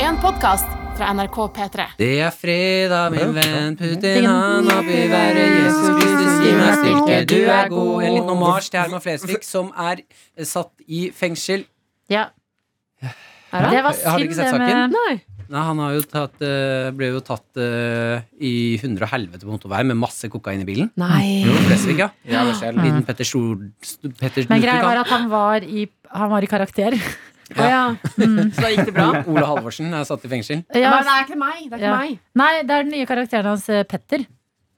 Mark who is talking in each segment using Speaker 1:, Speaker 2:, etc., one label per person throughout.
Speaker 1: en podkast fra NRK P3.
Speaker 2: Det er fredag, min venn. Putt
Speaker 3: Ding.
Speaker 2: din hand opp i været. Jesus Kristus, gi meg styrke. Du er god. En liten omasj til Herman Flesvig, som er eh, satt i fengsel.
Speaker 3: Ja.
Speaker 4: Er det?
Speaker 3: Det var
Speaker 2: Jeg har
Speaker 3: synd,
Speaker 2: ikke
Speaker 3: det
Speaker 2: sett saken.
Speaker 3: med
Speaker 4: Nei.
Speaker 2: Nei, han har jo tatt, eh, ble jo tatt eh, i hundre og helvete på motorvei med masse kokain i bilen. Jo,
Speaker 4: Nei.
Speaker 2: Flesvig, ja.
Speaker 5: Ja, det skjer.
Speaker 2: Liten Petter Sol... Petter
Speaker 3: Men greia var
Speaker 2: Lutekamp.
Speaker 3: at han var i, han var i karakter.
Speaker 4: Å ja. Så da gikk det bra?
Speaker 2: Ole Halvorsen er satt i fengsel.
Speaker 1: Ja.
Speaker 3: Ja.
Speaker 1: det er ikke meg. Det er ikke
Speaker 3: altså, Ja.
Speaker 1: meg.
Speaker 3: Nei, det er den nye karakteren hans, eh, Petter.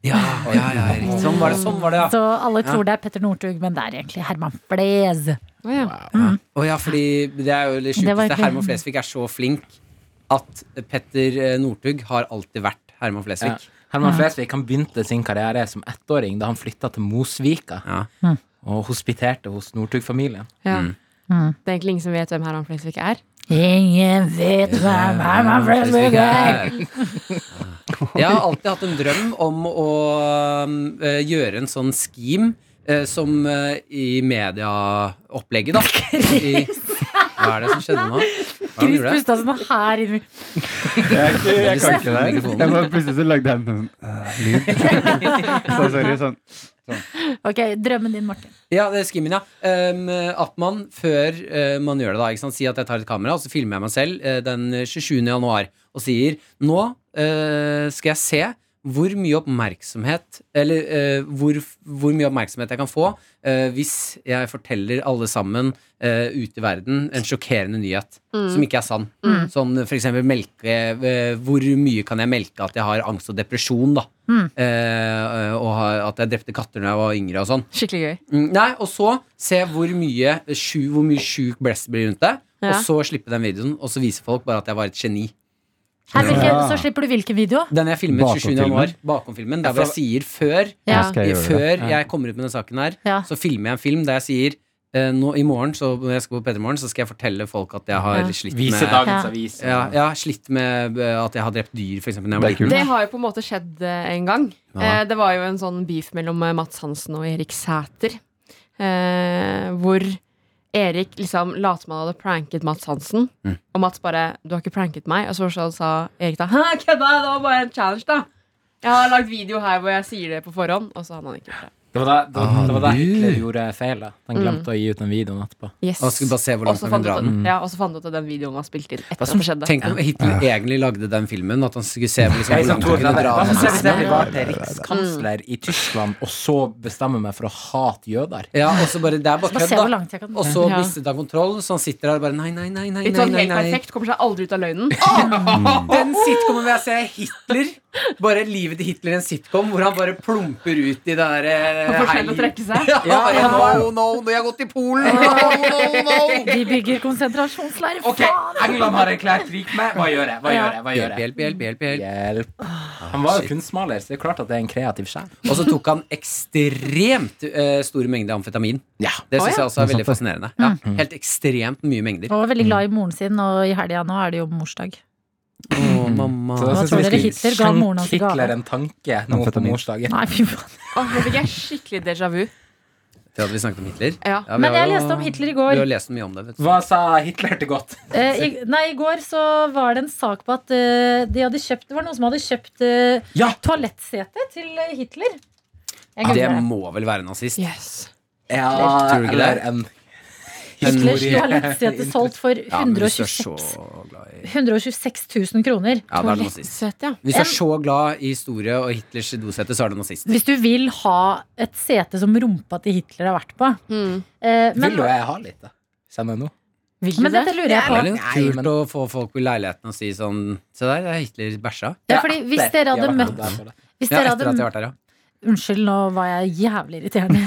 Speaker 2: Ja, ja, ja, riktig. Sånn var det, sånn var det, ja.
Speaker 3: Så alle
Speaker 2: Ja.
Speaker 3: tror det er Petter Northug, men det er egentlig Herman Flez.
Speaker 4: Å ja.
Speaker 2: Å ja, fordi det er jo det
Speaker 3: Mm. Det var
Speaker 2: sjukeste.
Speaker 3: ikke-
Speaker 2: Herman Flesvig er så flink at Petter eh, Northug har alltid vært Herman Flesvig.
Speaker 5: Ja. Herman Flesvig han begynte sin karriere som ettåring da han flytta til Mosvika
Speaker 2: Ja.
Speaker 5: og hospiterte hos Northug-familien.
Speaker 4: ja.
Speaker 2: Mm.
Speaker 4: Det er egentlig ingen som vet hvem Herman Flesvig er.
Speaker 3: Ingen vet
Speaker 2: Eh,
Speaker 3: hvem Herman Flesvig er!
Speaker 2: Jeg har alltid hatt en drøm om å eh, gjøre en sånn scheme eh, som eh, i mediaopplegget, da. I, hva er det som skjedde nå? Hva
Speaker 3: Chris
Speaker 2: gjorde jeg?
Speaker 3: Gustavsen er sånn her inne.
Speaker 6: Jeg, jeg, jeg kan ikke det her.
Speaker 2: Mikrofonen.
Speaker 6: Jeg bare plutselig så lagde jeg en sånn øh, lyd. Så sorry. Sånn.
Speaker 3: Ok, drømmen din, Martin.
Speaker 2: Ja, det er skimmen, ja. Um, at man før eh, man gjør det, da, ikke sant? si at jeg tar et kamera, og så filmer jeg meg selv eh, den 27. januar og sier nå eh, skal jeg se hvor mye oppmerksomhet Eller eh, hvor, hvor mye oppmerksomhet jeg kan få eh, hvis jeg forteller alle sammen eh, ute i verden en sjokkerende nyhet som ikke er sann. Sånn for eksempel melke eh, Hvor mye kan jeg melke at jeg har angst og depresjon, da? Eh, og har, at jeg drepte katter da jeg var yngre og sånn.
Speaker 4: Skikkelig gøy.
Speaker 2: Mm, Nei, og så se hvor mye sju, Hvor mye sjuk blest blir rundt deg.
Speaker 4: Ja.
Speaker 2: Og så slippe den videoen, og så viser folk bare at jeg var et geni.
Speaker 3: Her, hvilken,
Speaker 6: Ja.
Speaker 3: så slipper du hvilken video?
Speaker 2: Den jeg filmet 27.
Speaker 6: Bakom-filmen?
Speaker 2: januar, bakom-filmen, der hvor jeg sier før
Speaker 3: Ja.
Speaker 6: Skal jeg gjøre det?
Speaker 2: Før jeg kommer ut med den saken her,
Speaker 3: Ja.
Speaker 2: så filmer jeg en film der jeg sier eh, nå, I morgen, så når jeg skal på P3 Morgen, så skal jeg fortelle folk at jeg har
Speaker 4: Ja.
Speaker 2: slitt
Speaker 5: Vise
Speaker 2: med
Speaker 5: dagens
Speaker 3: Ja.
Speaker 5: avis.
Speaker 2: ja, ja, slitt med eh, at jeg har drept dyr, for eksempel. når
Speaker 6: Det
Speaker 2: jeg
Speaker 6: er
Speaker 2: var liten.
Speaker 4: Det har jo på en måte skjedd eh, en gang.
Speaker 2: Ja.
Speaker 4: Eh, det var jo en sånn beef mellom eh, Mats Hansen og Erik Sæter. Eh, hvor Erik liksom lot som han hadde pranket Mats Hansen.
Speaker 2: Mm.
Speaker 4: Og Mats bare 'Du har ikke pranket meg.' Og så så sa Erik da 'Hæ, kødda! Det var bare en challenge, da'. Jeg har lagd video her hvor jeg sier det på forhånd, og så hadde han ikke gjort det.
Speaker 5: Det var da, det, var- det var da
Speaker 2: Ah,
Speaker 5: Hitler
Speaker 2: du.
Speaker 5: gjorde feil. da
Speaker 3: Mm.
Speaker 5: Han glemte å gi ut den videoen etterpå.
Speaker 4: Yes.
Speaker 2: Og skulle bare se hvor
Speaker 4: Og
Speaker 2: langt
Speaker 4: så fant
Speaker 2: man kan
Speaker 4: du
Speaker 2: dra
Speaker 4: ut
Speaker 2: den.
Speaker 4: at- ja, og så fant du ut at den videoen var spilt inn etter at
Speaker 5: som-
Speaker 4: det skjedde.
Speaker 2: Tenk om Hitler egentlig lagde den filmen, at han skulle se hvor, liksom,
Speaker 5: Jeg
Speaker 2: hvor langt man kunne dra.
Speaker 5: hvis jeg var
Speaker 3: Mm.
Speaker 5: til rikskansler i Tyskland, og så bestemmer meg for å hate jøder.
Speaker 2: Ja, og så bare, det er bare
Speaker 3: Bare
Speaker 2: kødd,
Speaker 3: se hvor
Speaker 2: da.
Speaker 3: langt jeg kan
Speaker 2: Og så
Speaker 4: Ja.
Speaker 2: mistet han kontroll, så han sitter der og bare nei, nei, nei, nei,
Speaker 4: Litt
Speaker 2: nei,
Speaker 4: sånn
Speaker 2: nei,
Speaker 4: helt
Speaker 2: nei.
Speaker 4: perfekt. Kommer seg aldri ut av løgnen.
Speaker 2: Den sitcomen vil jeg se Hitler. Bare livet til Hitler i en sitcom hvor han bare plumper ut i det der eh,
Speaker 4: Og
Speaker 2: hei-
Speaker 4: forskjellig å trekke seg.
Speaker 2: Ja, bare, no, no, no, jeg har gått til Polen. No, no, no.
Speaker 3: De bygger konsentrasjonsleir.
Speaker 5: Ok, England har erklært krig med Hva gjør jeg? Hva gjør jeg? Hva gjør
Speaker 2: Hjelp,
Speaker 5: jeg?
Speaker 2: hjelp, hjelp, hjelp, hjelp.
Speaker 5: Hjelp. Han var jo kunstmaler, så det er klart at det er en kreativ sjel.
Speaker 2: Og så tok han ekstremt eh, store mengder amfetamin.
Speaker 5: Ja.
Speaker 2: Det
Speaker 4: Å,
Speaker 2: syns
Speaker 4: ja.
Speaker 2: jeg også er veldig fascinerende. Ja,
Speaker 3: Mm.
Speaker 2: helt ekstremt mye mengder.
Speaker 3: Og veldig glad i moren sin, og i helga nå er det jo morsdag.
Speaker 2: Å, mamma.
Speaker 5: Så da
Speaker 3: Hva
Speaker 5: synes
Speaker 3: Ah, tror
Speaker 5: vi skal
Speaker 3: dere Hitler ga moren hans i
Speaker 5: skjenke
Speaker 3: gave?
Speaker 5: Hitler en tanke nå på
Speaker 6: Amfetamin.
Speaker 5: morsdagen.
Speaker 3: Nei, fy faen.
Speaker 4: Åh, nå fikk jeg skikkelig déjà vu.
Speaker 2: Det hadde vi snakket om Hitler.
Speaker 4: Ja.
Speaker 2: Ja, vi
Speaker 3: Men
Speaker 2: har
Speaker 3: jeg
Speaker 2: jo-
Speaker 3: leste om Hitler i
Speaker 2: Du
Speaker 3: går.
Speaker 2: har lest mye om det, vet du.
Speaker 5: Hva sa Hitler til godt?
Speaker 3: Eh, i, nei, i går så var det en sak på at eh, de hadde kjøpt, det var noen som hadde kjøpt eh,
Speaker 5: Ja.
Speaker 3: toalettsete til eh, Hitler. Jeg
Speaker 2: Ah, Det
Speaker 3: glemte det.
Speaker 2: må vel være nazist.
Speaker 4: Yes.
Speaker 5: Ja,
Speaker 2: Tror du ikke det?
Speaker 5: eller en
Speaker 3: Hitlers
Speaker 5: historie-
Speaker 3: toalettsete solgt for
Speaker 2: Ja, men hvis du er
Speaker 3: 126,
Speaker 2: så glad i
Speaker 3: 126 000 kroner.
Speaker 2: Ja, da er det nazist.
Speaker 4: Søt, ja.
Speaker 2: Hvis du er så glad i historie og Hitlers dosette, så er du nazist.
Speaker 3: Hvis du vil ha et sete som rumpa til Hitler har vært på
Speaker 4: Mm.
Speaker 3: eh, men,
Speaker 5: Vil du jeg ha litt, da? Kjenner jeg nå?
Speaker 4: Vil
Speaker 3: men dette lurer jeg
Speaker 2: Det
Speaker 3: på.
Speaker 2: er litt
Speaker 5: Nei,
Speaker 2: kult
Speaker 5: men-
Speaker 2: å få folk i leiligheten og si sånn Se der, det er Hitler bæsja.
Speaker 3: Ja, fordi hvis
Speaker 5: det- jeg
Speaker 3: dere hadde
Speaker 5: var
Speaker 3: møtt
Speaker 5: der for det.
Speaker 3: hvis
Speaker 2: Ja,
Speaker 3: dere
Speaker 2: etter at jeg
Speaker 3: hadde,
Speaker 2: har vært der, ja.
Speaker 3: Unnskyld, nå var jeg jævlig irriterende.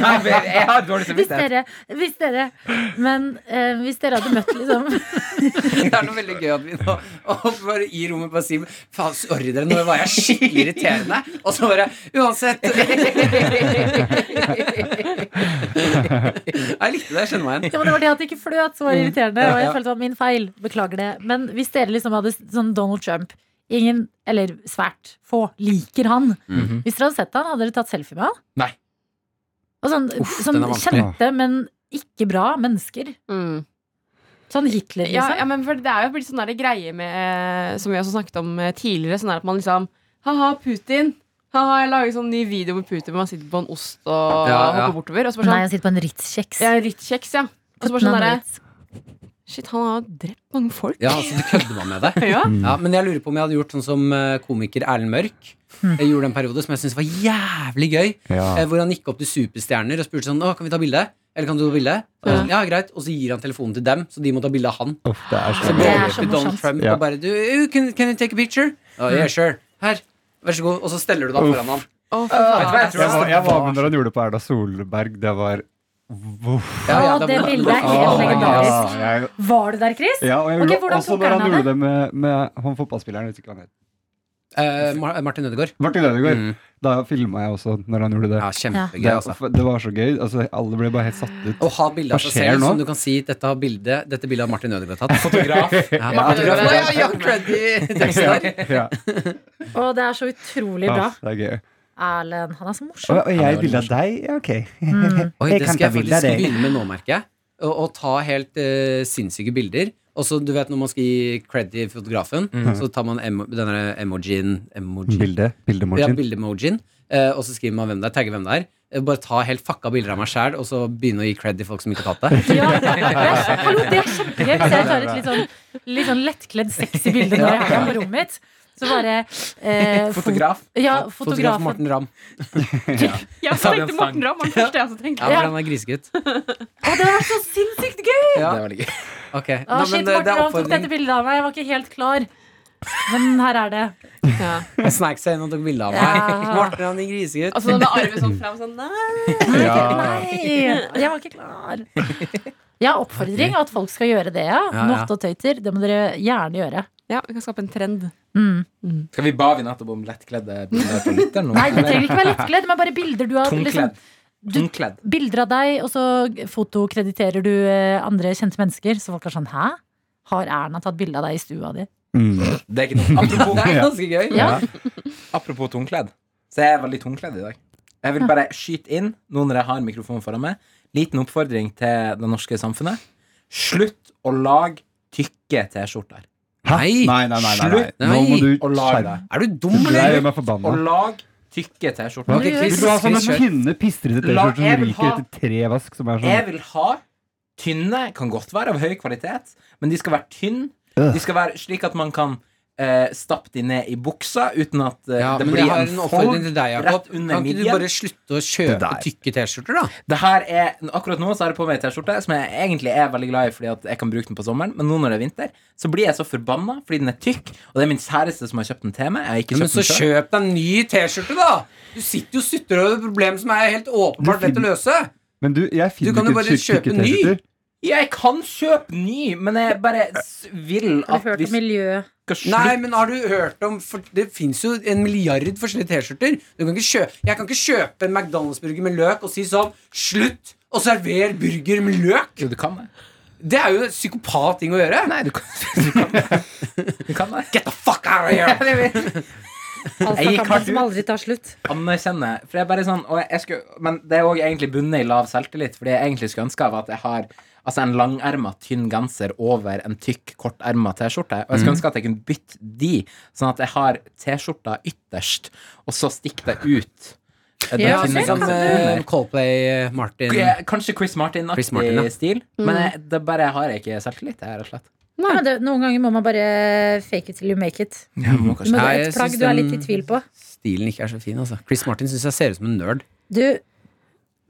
Speaker 5: Nei, men jeg har dårlig
Speaker 3: Hvis
Speaker 5: samvittighet.
Speaker 3: dere, hvis dere Men eh, hvis dere hadde møtt liksom
Speaker 2: Det er noe veldig gøy at vi nå og bare i rommet bare sier Faen, sorry dere, nå var jeg skikkelig irriterende. Og så bare Uansett. Jeg likte det. Jeg kjenner meg igjen.
Speaker 3: Ja, men det var det at det ikke fløt som var irriterende, og jeg
Speaker 2: Mm. Ja.
Speaker 3: følte det var min feil. Beklager det. Men hvis dere liksom hadde sånn Donald Trump Ingen, eller svært få, liker han.
Speaker 5: Mhm.
Speaker 3: Hvis dere hadde sett han, hadde dere tatt selfie med han?
Speaker 5: Nei.
Speaker 3: Og sånn,
Speaker 2: Uff,
Speaker 3: sånn
Speaker 2: den er vanskelig.
Speaker 3: kjente, men ikke bra mennesker.
Speaker 4: Mm.
Speaker 7: Sånn Hitler,
Speaker 4: Ja, ja,
Speaker 7: liksom.
Speaker 4: men for det er jo blitt sånn der greie med Som vi også snakket om eh, tidligere, sånn der at man liksom Ha-ha, Putin! Ha-ha, jeg lager sånn ny video med Putin hvor man sitter på en ost og
Speaker 2: Ja, ja.
Speaker 4: hopper bortover. Og så bare
Speaker 7: Nei,
Speaker 4: sånn
Speaker 7: jeg sitter på en Ritz-kjeks.
Speaker 4: Ja, Ritz-kjeks, ja. Og så bare
Speaker 7: Putten av
Speaker 4: sånn
Speaker 7: en
Speaker 4: derre
Speaker 7: Ritz.
Speaker 4: Shit, han har drept mange folk.
Speaker 2: Ja, altså, du kødder bare med det.
Speaker 4: Ja.
Speaker 2: Ja, men jeg lurer på om jeg hadde gjort sånn som eh, komiker Erlend Mørk. Jeg gjorde en periode som jeg syntes var jævlig gøy. eh,
Speaker 6: Ja.
Speaker 2: Hvor han gikk opp til superstjerner og spurte sånn Å, kan vi ta bilde? Eller kan du ta bilde? Og jeg sånn, Ja, greit. Og så gir han telefonen til dem, så de må ta bilde av han.
Speaker 6: Uff, det er
Speaker 2: Så
Speaker 6: så
Speaker 7: Det
Speaker 2: går
Speaker 7: er så
Speaker 2: han opp til Donald
Speaker 7: morsomt.
Speaker 2: Trump
Speaker 6: Ja.
Speaker 2: og bare du, can, can you take a picture? «Oh, yeah, sure. Her. Vær så god. Og så steller du deg foran han.
Speaker 4: Å, fy faen.
Speaker 2: Vet du hva, jeg
Speaker 6: Jeg
Speaker 2: tror
Speaker 6: var, jeg var med når han gjorde det på Erna Solberg. Det var Uff.
Speaker 2: Ja, ja,
Speaker 7: Å, det
Speaker 2: var-
Speaker 7: bildet er
Speaker 2: Åh,
Speaker 7: helt
Speaker 2: my
Speaker 7: legendarisk.
Speaker 2: God.
Speaker 6: Ja, jeg-
Speaker 7: Var du der, Chris?
Speaker 6: Ja, og jeg
Speaker 7: Ok,
Speaker 6: gjorde
Speaker 7: hvordan
Speaker 6: også
Speaker 7: tok
Speaker 6: når
Speaker 7: han
Speaker 6: han
Speaker 7: av det?
Speaker 6: gjorde det med, med han fotballspilleren. jeg vet ikke hva han heter.
Speaker 2: Eh, Mar- Martin Ødegaard.
Speaker 6: Martin Ødegaard.
Speaker 2: Mm.
Speaker 6: Da filma jeg også når han gjorde det.
Speaker 2: Ja, kjempegøy,
Speaker 6: Det,
Speaker 2: altså.
Speaker 6: det var så gøy. Altså, alle ble bare helt satt ut.
Speaker 2: Å ha bilde av
Speaker 6: Hva
Speaker 2: seg
Speaker 6: skjer
Speaker 2: selv
Speaker 6: nå?
Speaker 2: som du kan si dette, har bildet, dette bildet har Martin Ødegaard tatt. Fotograf. Ja, Martin
Speaker 4: Ødegaard.
Speaker 2: Ødegaard. Ja, ja, credit. Tekst der.
Speaker 6: Ja.
Speaker 7: Å, det er så utrolig bra.
Speaker 6: Ah, det er gøy.
Speaker 7: Erlend, han er så morsom.
Speaker 6: Og, og jeg bilde av deg? Ja, ok.
Speaker 2: Oi,
Speaker 6: Jeg
Speaker 2: det
Speaker 6: kan
Speaker 2: skal jeg
Speaker 6: ta bilde av
Speaker 2: faktisk
Speaker 6: deg.
Speaker 2: begynne med nå, merker jeg. Å å ta helt eh, sinnssyke bilder. Og så, du vet Når man skal gi cred til fotografen,
Speaker 6: Mm.
Speaker 2: så tar man emo, denne emojien emoji.
Speaker 6: Bilde.
Speaker 2: Ja,
Speaker 6: Bildemorgen.
Speaker 2: bildemojien. Eh, og så skriver man hvem det er, tagger hvem det er. Eh, Bare ta helt fucka bilder av meg sjæl, og så begynne å gi cred til folk som ikke har tatt det.
Speaker 7: Ja, det er, hallo, det er kjempegøy. Hvis jeg tar et litt sånn, litt sånn lettkledd, sexy bilde når jeg er på rommet mitt, så bare eh, fot-
Speaker 5: Fotograf.
Speaker 7: Ja,
Speaker 2: Fotograf
Speaker 7: fotografen.
Speaker 2: Morten Ramm.
Speaker 4: Jeg
Speaker 5: Så har vi en
Speaker 4: tenkte
Speaker 5: sang.
Speaker 4: Morten Ramm. Han første jeg også
Speaker 2: Ja,
Speaker 4: tenkte.
Speaker 2: for han er grisegutt.
Speaker 7: Å, det har vært så sinnssykt gøy!
Speaker 2: Ja,
Speaker 5: Det er veldig gøy.
Speaker 2: ok.
Speaker 7: Å,
Speaker 2: Nei, men
Speaker 7: shit, Morten
Speaker 2: det,
Speaker 7: Ramm
Speaker 2: det er
Speaker 7: tok dette
Speaker 2: oppfordring.
Speaker 7: bildet av meg. Jeg var ikke helt klar. Men her er det.
Speaker 4: Ja.
Speaker 2: Jeg snek seg inn og tok bilde av meg.
Speaker 7: Ja. Altså,
Speaker 2: Morten Ramm, din grisegutt.
Speaker 4: Og så med armen sånn fram sånn Nei!
Speaker 2: Ah.
Speaker 6: Ja.
Speaker 7: Nei, jeg var ikke klar. Ja, oppfordring at folk skal gjøre det, ja.
Speaker 2: Ja, ja.
Speaker 7: Notte og tøyter. Det må dere gjerne gjøre.
Speaker 4: Ja, vi kan skape en trend.
Speaker 7: Mm.
Speaker 5: Skal vi ba vi nettopp om lettkledde bilder på lytteren nå?
Speaker 7: Nei, du trenger ikke være lettkledd, men bare bilder du har liksom,
Speaker 5: Tungkledd.
Speaker 7: du,
Speaker 5: Tungkledd.
Speaker 7: Bilder av deg, og så fotokrediterer du eh, andre kjente mennesker. Så folk er sånn 'hæ? Har Erna tatt bilde av deg i stua di?'
Speaker 6: Mm.
Speaker 5: Det er ikke noe. Apropos,
Speaker 2: Det er ganske gøy.
Speaker 7: Ja.
Speaker 5: apropos tungkledd, så jeg er veldig tungkledd i dag. Jeg vil bare skyte inn, nå når jeg har mikrofonen foran meg, liten oppfordring til det norske samfunnet. Slutt å lage tykke T-skjorter.
Speaker 2: Nei.
Speaker 6: Nei, nei, nei, nei, nei.
Speaker 2: Slutt
Speaker 6: Nå må du
Speaker 5: å lage
Speaker 6: skjerpe
Speaker 5: deg.
Speaker 2: Er du dum,
Speaker 6: deg. Jeg
Speaker 2: eller?
Speaker 6: gjør meg
Speaker 5: Å
Speaker 6: forbanna.
Speaker 5: lage tykke
Speaker 6: Men
Speaker 5: T-skjorter.
Speaker 2: ok, Chris,
Speaker 6: Vil du ha sånne
Speaker 2: Chris, kjør.
Speaker 6: tynne, pistrete
Speaker 5: La-
Speaker 6: T-skjorter
Speaker 5: jeg
Speaker 6: som
Speaker 5: vil
Speaker 6: ryker
Speaker 5: ha-
Speaker 6: etter tre vask? Som er
Speaker 5: Jeg
Speaker 6: sånn
Speaker 5: vil ha tynne, kan godt være av høy kvalitet, men de skal være tynne. De skal være slik at man kan eh, stappe de ned i buksa uten at eh,
Speaker 2: Ja,
Speaker 5: det
Speaker 2: men
Speaker 5: blir
Speaker 2: jeg har en
Speaker 5: en
Speaker 2: oppfordring
Speaker 5: fold
Speaker 2: til deg, Jakob.
Speaker 5: rett under
Speaker 2: Kan ikke du
Speaker 5: midjen.
Speaker 2: bare slutte å kjøpe
Speaker 6: der.
Speaker 2: tykke T-skjorter, da?
Speaker 5: Det her er, akkurat nå så har jeg på meg en T-skjorte som jeg egentlig er veldig glad i fordi at jeg kan bruke den på sommeren, men nå når det er vinter, så blir jeg så forbanna fordi den er tykk, og det er min kjæreste som har kjøpt den til meg. Jeg har ikke
Speaker 2: Ja, men
Speaker 5: kjøpt
Speaker 2: så
Speaker 5: den selv.
Speaker 2: kjøp deg en ny T-skjorte, da! Du sitter jo og sutrer over et problem som er helt åpenbart lett å løse.
Speaker 6: Men du,
Speaker 2: Du
Speaker 6: jeg finner
Speaker 2: kan jo
Speaker 6: ikke
Speaker 2: bare
Speaker 6: tykke
Speaker 2: kjøpe ny.
Speaker 6: T-skjorter.
Speaker 5: Jeg kan kjøpe ny, men jeg bare s- vil
Speaker 7: Har
Speaker 5: at
Speaker 7: du hørt
Speaker 5: vi
Speaker 7: om miljø...
Speaker 5: skal slutte
Speaker 2: Nei, men har du hørt om for Det fins jo en milliard forskjellige T-skjorter. Du kan ikke kjø- Jeg kan ikke kjøpe en McDonald's-burger med løk og si sånn Slutt å servere burger med løk!
Speaker 5: Jo, du kan det.
Speaker 2: Det er jo en psykopat ting å gjøre.
Speaker 5: Nei, du kan, du kan det. Du kan det.
Speaker 2: Get the fuck out of here!
Speaker 5: Jeg gikk hardt ut.
Speaker 7: Altså, liksom aldri tar slutt.
Speaker 5: Anerkjenner. For jeg er bare sånn, og jeg skulle, men det er òg egentlig bundet i lav selvtillit. For det jeg egentlig skulle ønske, var at jeg har altså en langerma, tynn genser over en tykk, korterma T-skjorte. Og jeg skulle ønske at jeg kunne bytte de, sånn at jeg har T-skjorta ytterst, og så stikker det ut. eh, den
Speaker 2: Ja,
Speaker 5: tynne
Speaker 2: sånn som
Speaker 5: genseren
Speaker 2: eh,
Speaker 5: under.
Speaker 2: Coldplay, eh, Martin
Speaker 5: Eh, Kanskje Chris
Speaker 2: Chris Martin, ja.
Speaker 5: Martin-aktig stil, men jeg, det bare har jeg ikke selvtillit. Jeg, rett og slett.
Speaker 7: Ja, men det, noen ganger må man bare fake it till you make it.
Speaker 5: Ja, må kanskje-
Speaker 7: Du må
Speaker 2: Nei,
Speaker 7: ha
Speaker 2: jeg
Speaker 7: et plagg
Speaker 2: syns
Speaker 7: du er
Speaker 2: den-
Speaker 7: litt i tvil på.
Speaker 2: Stilen ikke er så fin, altså. Chris Martin syns jeg ser ut som en nerd.
Speaker 7: Du,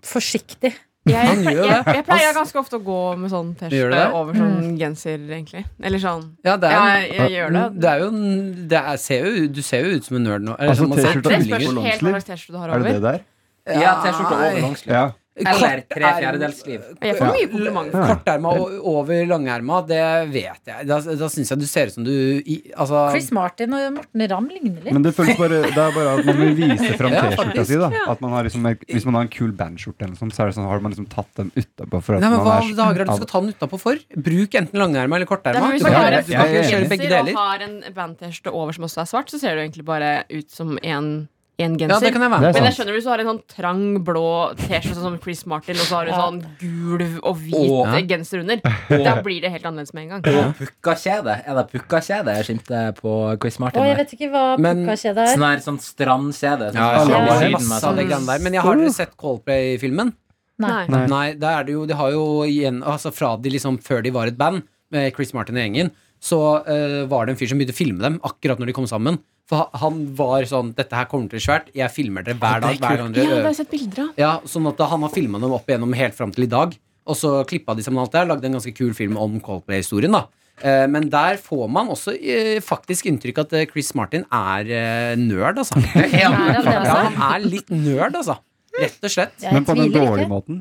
Speaker 7: forsiktig.
Speaker 4: Jeg,
Speaker 2: Han gjør
Speaker 4: jeg,
Speaker 2: jo
Speaker 4: jeg,
Speaker 2: det.
Speaker 4: pleier ganske ofte å gå med sånn
Speaker 2: Gjør du
Speaker 4: T-skjorte
Speaker 2: det?
Speaker 4: over sånn genser, egentlig. Eller sånn.
Speaker 2: Ja, det er,
Speaker 4: Ja, jeg, jeg gjør det.
Speaker 2: det er jo en- det er, ser jo, Du ser jo ut som en nerd nå. Eller,
Speaker 6: Altså,
Speaker 2: sånn, man ser
Speaker 6: T-skjorta
Speaker 4: Det
Speaker 2: tulling
Speaker 4: spørs
Speaker 2: ut.
Speaker 6: Longsleeve.
Speaker 4: helt hva slags T-skjorte du har
Speaker 6: Er det
Speaker 4: over.
Speaker 6: det der?
Speaker 5: ja, T-skjorta over
Speaker 2: Nei.
Speaker 5: langslip.
Speaker 6: Ja.
Speaker 5: Eller
Speaker 2: Kort
Speaker 5: tre
Speaker 2: er-
Speaker 5: fjerdedels liv.
Speaker 4: Jeg får mye komplimenter.
Speaker 2: Korterma o- over langerma, det vet jeg. Da, da syns jeg du ser ut som du i- Altså
Speaker 7: Chris Martin og Morten Ramm ligner litt.
Speaker 6: Men det føles bare Det er bare at man vil vise fram
Speaker 2: Ja,
Speaker 6: T-skjorta
Speaker 2: faktisk,
Speaker 6: si, da. At man har liksom, hvis man har en kul bandskjorte eller noe sånt, så er det sånn, har man liksom tatt dem utapå for at
Speaker 2: Nei, men
Speaker 6: man
Speaker 2: Hva
Speaker 6: er
Speaker 2: dager er det du skal ta den utapå for? Bruk enten langerma eller
Speaker 4: Det er
Speaker 2: korterma.
Speaker 4: bare
Speaker 2: Du
Speaker 4: hvis
Speaker 2: kan
Speaker 4: du har
Speaker 2: ikke-
Speaker 4: en
Speaker 2: du kan ikke
Speaker 6: jeg-
Speaker 2: kjøre begge
Speaker 4: genser og
Speaker 2: deler.
Speaker 4: har en band-T-skjorte over som også er svart, så ser du egentlig bare ut som en én
Speaker 2: Ja, det
Speaker 4: genser.
Speaker 2: kan jeg
Speaker 6: Det
Speaker 2: være
Speaker 6: er
Speaker 2: med på.
Speaker 4: men
Speaker 6: sant.
Speaker 4: jeg skjønner hvis du har en sånn trang, blå T-skjorte som Chris Martin, og så har du sånn gul og hvit
Speaker 5: Åh.
Speaker 4: eh, genser under. Da blir det helt annerledes med en gang.
Speaker 5: Og pukkakjede. Er det pukkakjede jeg skimte på Quiz Martin?
Speaker 3: Å, jeg
Speaker 5: der?
Speaker 3: vet ikke hva
Speaker 2: Men-
Speaker 3: pukkakjede er.
Speaker 5: Sånn her sånn strandkjede. Sånn,
Speaker 2: Ja,
Speaker 5: som
Speaker 2: ja, ja.
Speaker 5: er i Syden med
Speaker 2: Masse av
Speaker 5: sånn-
Speaker 2: det greiene der. Men jeg har dere sett Coldplay-filmen?
Speaker 3: Nei.
Speaker 6: Nei.
Speaker 2: Nei, da er det jo, de har jo igjen, altså fra de liksom, før de var et band, med Chris Martin og gjengen, så eh, var det en fyr som begynte å filme dem akkurat når de kom sammen. For ha- han var sånn, dette her kommer til å bli svært, jeg filmer dere hver dag, hver gang dere øver.
Speaker 4: sett bilder av.
Speaker 2: Ja, sånn at han har filmet dem opp igjennom helt frem til i dag, og så klippet de sammen alt der, lagde en ganske kul film om Coldplay-historien da. Eh, Men der får man også eh, faktisk inntrykk at eh, Chris Martin er eh, nerd, altså. Ja,
Speaker 7: han det, altså?
Speaker 2: han er litt nerd, altså. Rett og slett.
Speaker 3: Jeg
Speaker 6: Men på den
Speaker 3: tviler
Speaker 6: dårlige
Speaker 3: ikke.
Speaker 6: måten.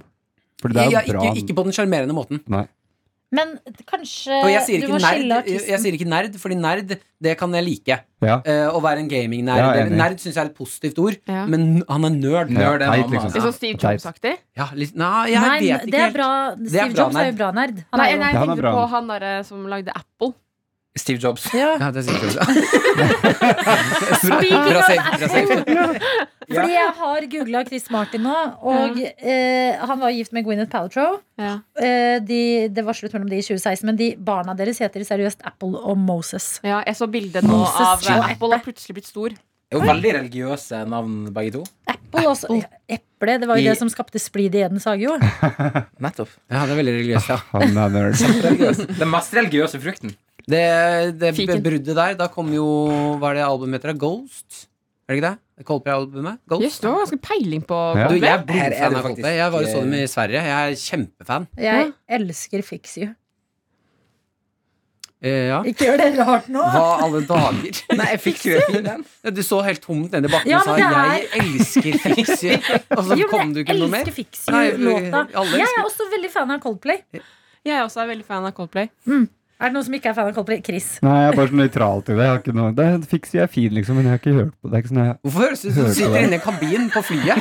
Speaker 6: Fordi det er jo
Speaker 2: ja,
Speaker 6: bra.
Speaker 2: ikke, ikke på den sjarmerende måten.
Speaker 6: Nei.
Speaker 3: Men kanskje
Speaker 2: Og jeg sier,
Speaker 3: Eh, du
Speaker 2: ikke
Speaker 3: må
Speaker 2: nerd,
Speaker 3: skille
Speaker 2: jeg, jeg
Speaker 3: artisten.
Speaker 2: sier ikke nerd, fordi nerd, det kan jeg like.
Speaker 6: Ja.
Speaker 2: Eh, å være en gamingnerd.
Speaker 6: Ja, jeg er
Speaker 2: eller-
Speaker 6: enig.
Speaker 2: nerd syns jeg er et positivt ord,
Speaker 4: Ja.
Speaker 2: men han er nerd.
Speaker 6: Ja,
Speaker 5: Nerd er
Speaker 6: teit,
Speaker 5: noe
Speaker 6: liksom.
Speaker 5: annet.
Speaker 4: Litt sånn Steve
Speaker 6: Teit.
Speaker 4: Jobs-aktig.
Speaker 2: Ja, litt, nei, jeg
Speaker 7: Nei,
Speaker 2: vet ikke
Speaker 7: det er
Speaker 2: helt.
Speaker 7: bra.
Speaker 2: Det er
Speaker 7: Steve
Speaker 2: bra
Speaker 7: Jobs er jo
Speaker 2: nerd.
Speaker 7: bra nerd. Han
Speaker 4: Nei,
Speaker 7: er jo-
Speaker 4: nei,
Speaker 6: Ja,
Speaker 4: jeg
Speaker 6: han er
Speaker 4: tenkte
Speaker 6: bra.
Speaker 4: på han derre som lagde Apple.
Speaker 5: Steve Jobs.
Speaker 2: Ja, det sier jeg.
Speaker 7: Speaking
Speaker 2: Bra
Speaker 7: of
Speaker 2: selv, bra selv.
Speaker 3: Fordi jeg har googla Chris Martin nå, og eh, han var gift med Gwyneth Paltrow.
Speaker 4: Ja.
Speaker 3: Eh, de, det var slutt mellom de i 2016, men de barna deres heter seriøst Apple og Moses.
Speaker 4: Ja, jeg så bildet nå
Speaker 3: Moses
Speaker 4: av
Speaker 3: Joe.
Speaker 4: Apple har plutselig blitt stor.
Speaker 5: Det er jo veldig religiøse navn, begge to.
Speaker 3: Apple, også, Eple, det var jo
Speaker 5: I-
Speaker 3: det som skapte splid i Edens hage, jo.
Speaker 5: Nettopp.
Speaker 2: Ja, det er veldig religiøst, ja.
Speaker 6: Han er nerd.
Speaker 5: Den mest religiøse frukten.
Speaker 2: Det, det
Speaker 4: Fiken.
Speaker 2: bruddet der, da kom jo Hva er det albumet heter? da? Ghost? Er det ikke det? det? Coldplay-albumet? Ghost?
Speaker 4: Jøss, du har ganske peiling på
Speaker 6: Ja.
Speaker 2: Du,
Speaker 4: Coldplay.
Speaker 2: jeg er
Speaker 5: Her er det
Speaker 2: blodfan av
Speaker 5: faktisk-
Speaker 2: Coldplay. Jeg var jo så dem i Sverige. Jeg er kjempefan.
Speaker 3: Jeg elsker Fix You.
Speaker 2: Eh, ja.
Speaker 3: Ikke gjør det rart nå!
Speaker 2: Hva alle dager?
Speaker 5: Nei, jeg fikk jo en fin en.
Speaker 2: Ja, Du så helt tomt ned i bakken
Speaker 3: Ja,
Speaker 2: og sa
Speaker 3: men det
Speaker 2: 'jeg elsker Fix you', og så
Speaker 3: Jo,
Speaker 2: kom
Speaker 3: men
Speaker 2: du
Speaker 3: jeg
Speaker 2: ikke med noe mer?
Speaker 3: elsker Fix
Speaker 2: Nei,
Speaker 3: You-låta.
Speaker 2: alle
Speaker 3: Jeg
Speaker 2: elsker-
Speaker 3: er også veldig fan av Coldplay.
Speaker 4: Jeg er også er veldig fan av Coldplay.
Speaker 3: Er det noen som ikke er fan av Coldplay? Chris.
Speaker 6: Nei, jeg er bare så nøytral til det. Jeg har ikke noe Det fikser jeg fin, liksom, men jeg har ikke hørt på det. det. er Ikke sånn jeg,
Speaker 2: Hvorfor høres det ut som du
Speaker 6: Hører på
Speaker 2: sitter
Speaker 6: det.
Speaker 2: inne i en kabin på flyet?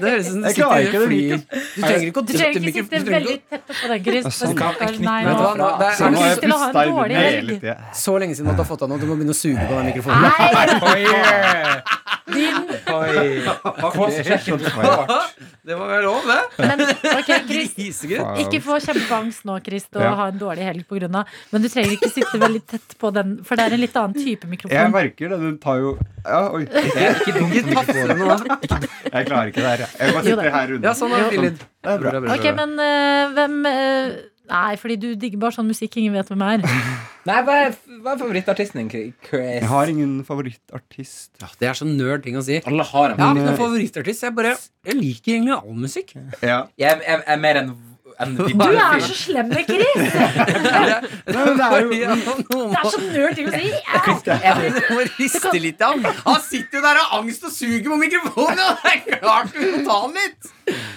Speaker 2: Det høres ut som du
Speaker 6: Jeg klarer
Speaker 2: sitter i
Speaker 6: ikke det
Speaker 2: flyet. Du trenger ikke å
Speaker 3: Du trenger
Speaker 2: dytte mikrofonen.
Speaker 3: ikke sitte
Speaker 2: Du trenger
Speaker 3: veldig
Speaker 2: ikke
Speaker 3: tett oppå den, Chris.
Speaker 6: Ja, sånn.
Speaker 5: Kan jeg knytte
Speaker 3: Nei,
Speaker 2: å- Vet du hva,
Speaker 3: nå.
Speaker 2: nå, det er-
Speaker 6: Så
Speaker 2: er
Speaker 6: nå
Speaker 2: det
Speaker 6: har
Speaker 7: lyst
Speaker 2: så-
Speaker 6: jeg
Speaker 7: til å ha en
Speaker 6: pustet i munnen
Speaker 7: dårlig helg.
Speaker 6: hele tiden.
Speaker 2: så lenge siden at du har fått deg noe, du må begynne å suge på den mikrofonen. Det var vel lov, det?
Speaker 3: Men, ok, Chris,
Speaker 2: Grisegutt.
Speaker 3: ikke få kjempeangst nå, Chris, og
Speaker 6: Ja.
Speaker 3: ha en dårlig helg på grunn av Men du trenger ikke sitte veldig tett på den, for det er en litt annen type
Speaker 6: Jeg
Speaker 3: mikrofon.
Speaker 6: merker det. Den tar jo ja, Oi.
Speaker 2: Ikke tafse med noe.
Speaker 6: Jeg klarer ikke det her. Jeg bare
Speaker 3: Jo da.
Speaker 6: sitter her
Speaker 2: Ja,
Speaker 6: unna.
Speaker 2: sånn er det.
Speaker 6: Det er bra.
Speaker 3: Ok, men øh, hvem øh, Nei, fordi du digger bare sånn musikk ingen vet hvem er.
Speaker 5: Nei, hva er, hva er favorittartisten din? Chris?
Speaker 6: Jeg har ingen favorittartist.
Speaker 2: Ja, Det er så nerd ting å si.
Speaker 5: Alle har en.
Speaker 2: Jeg har
Speaker 6: Men,
Speaker 2: ikke noen
Speaker 6: eh,
Speaker 2: favorittartist. Jeg bare Jeg liker egentlig all musikk.
Speaker 5: Jeg,
Speaker 6: Ja.
Speaker 5: jeg, jeg er mer enn en
Speaker 2: Du
Speaker 3: Du er så slem med Chris!
Speaker 6: det
Speaker 2: Ja, noen
Speaker 3: Det er så nerd ting å si.
Speaker 2: Du må riste litt av han. Han sitter jo der og har angst og suger på mikrofonen! Og det er klart du må ta han litt!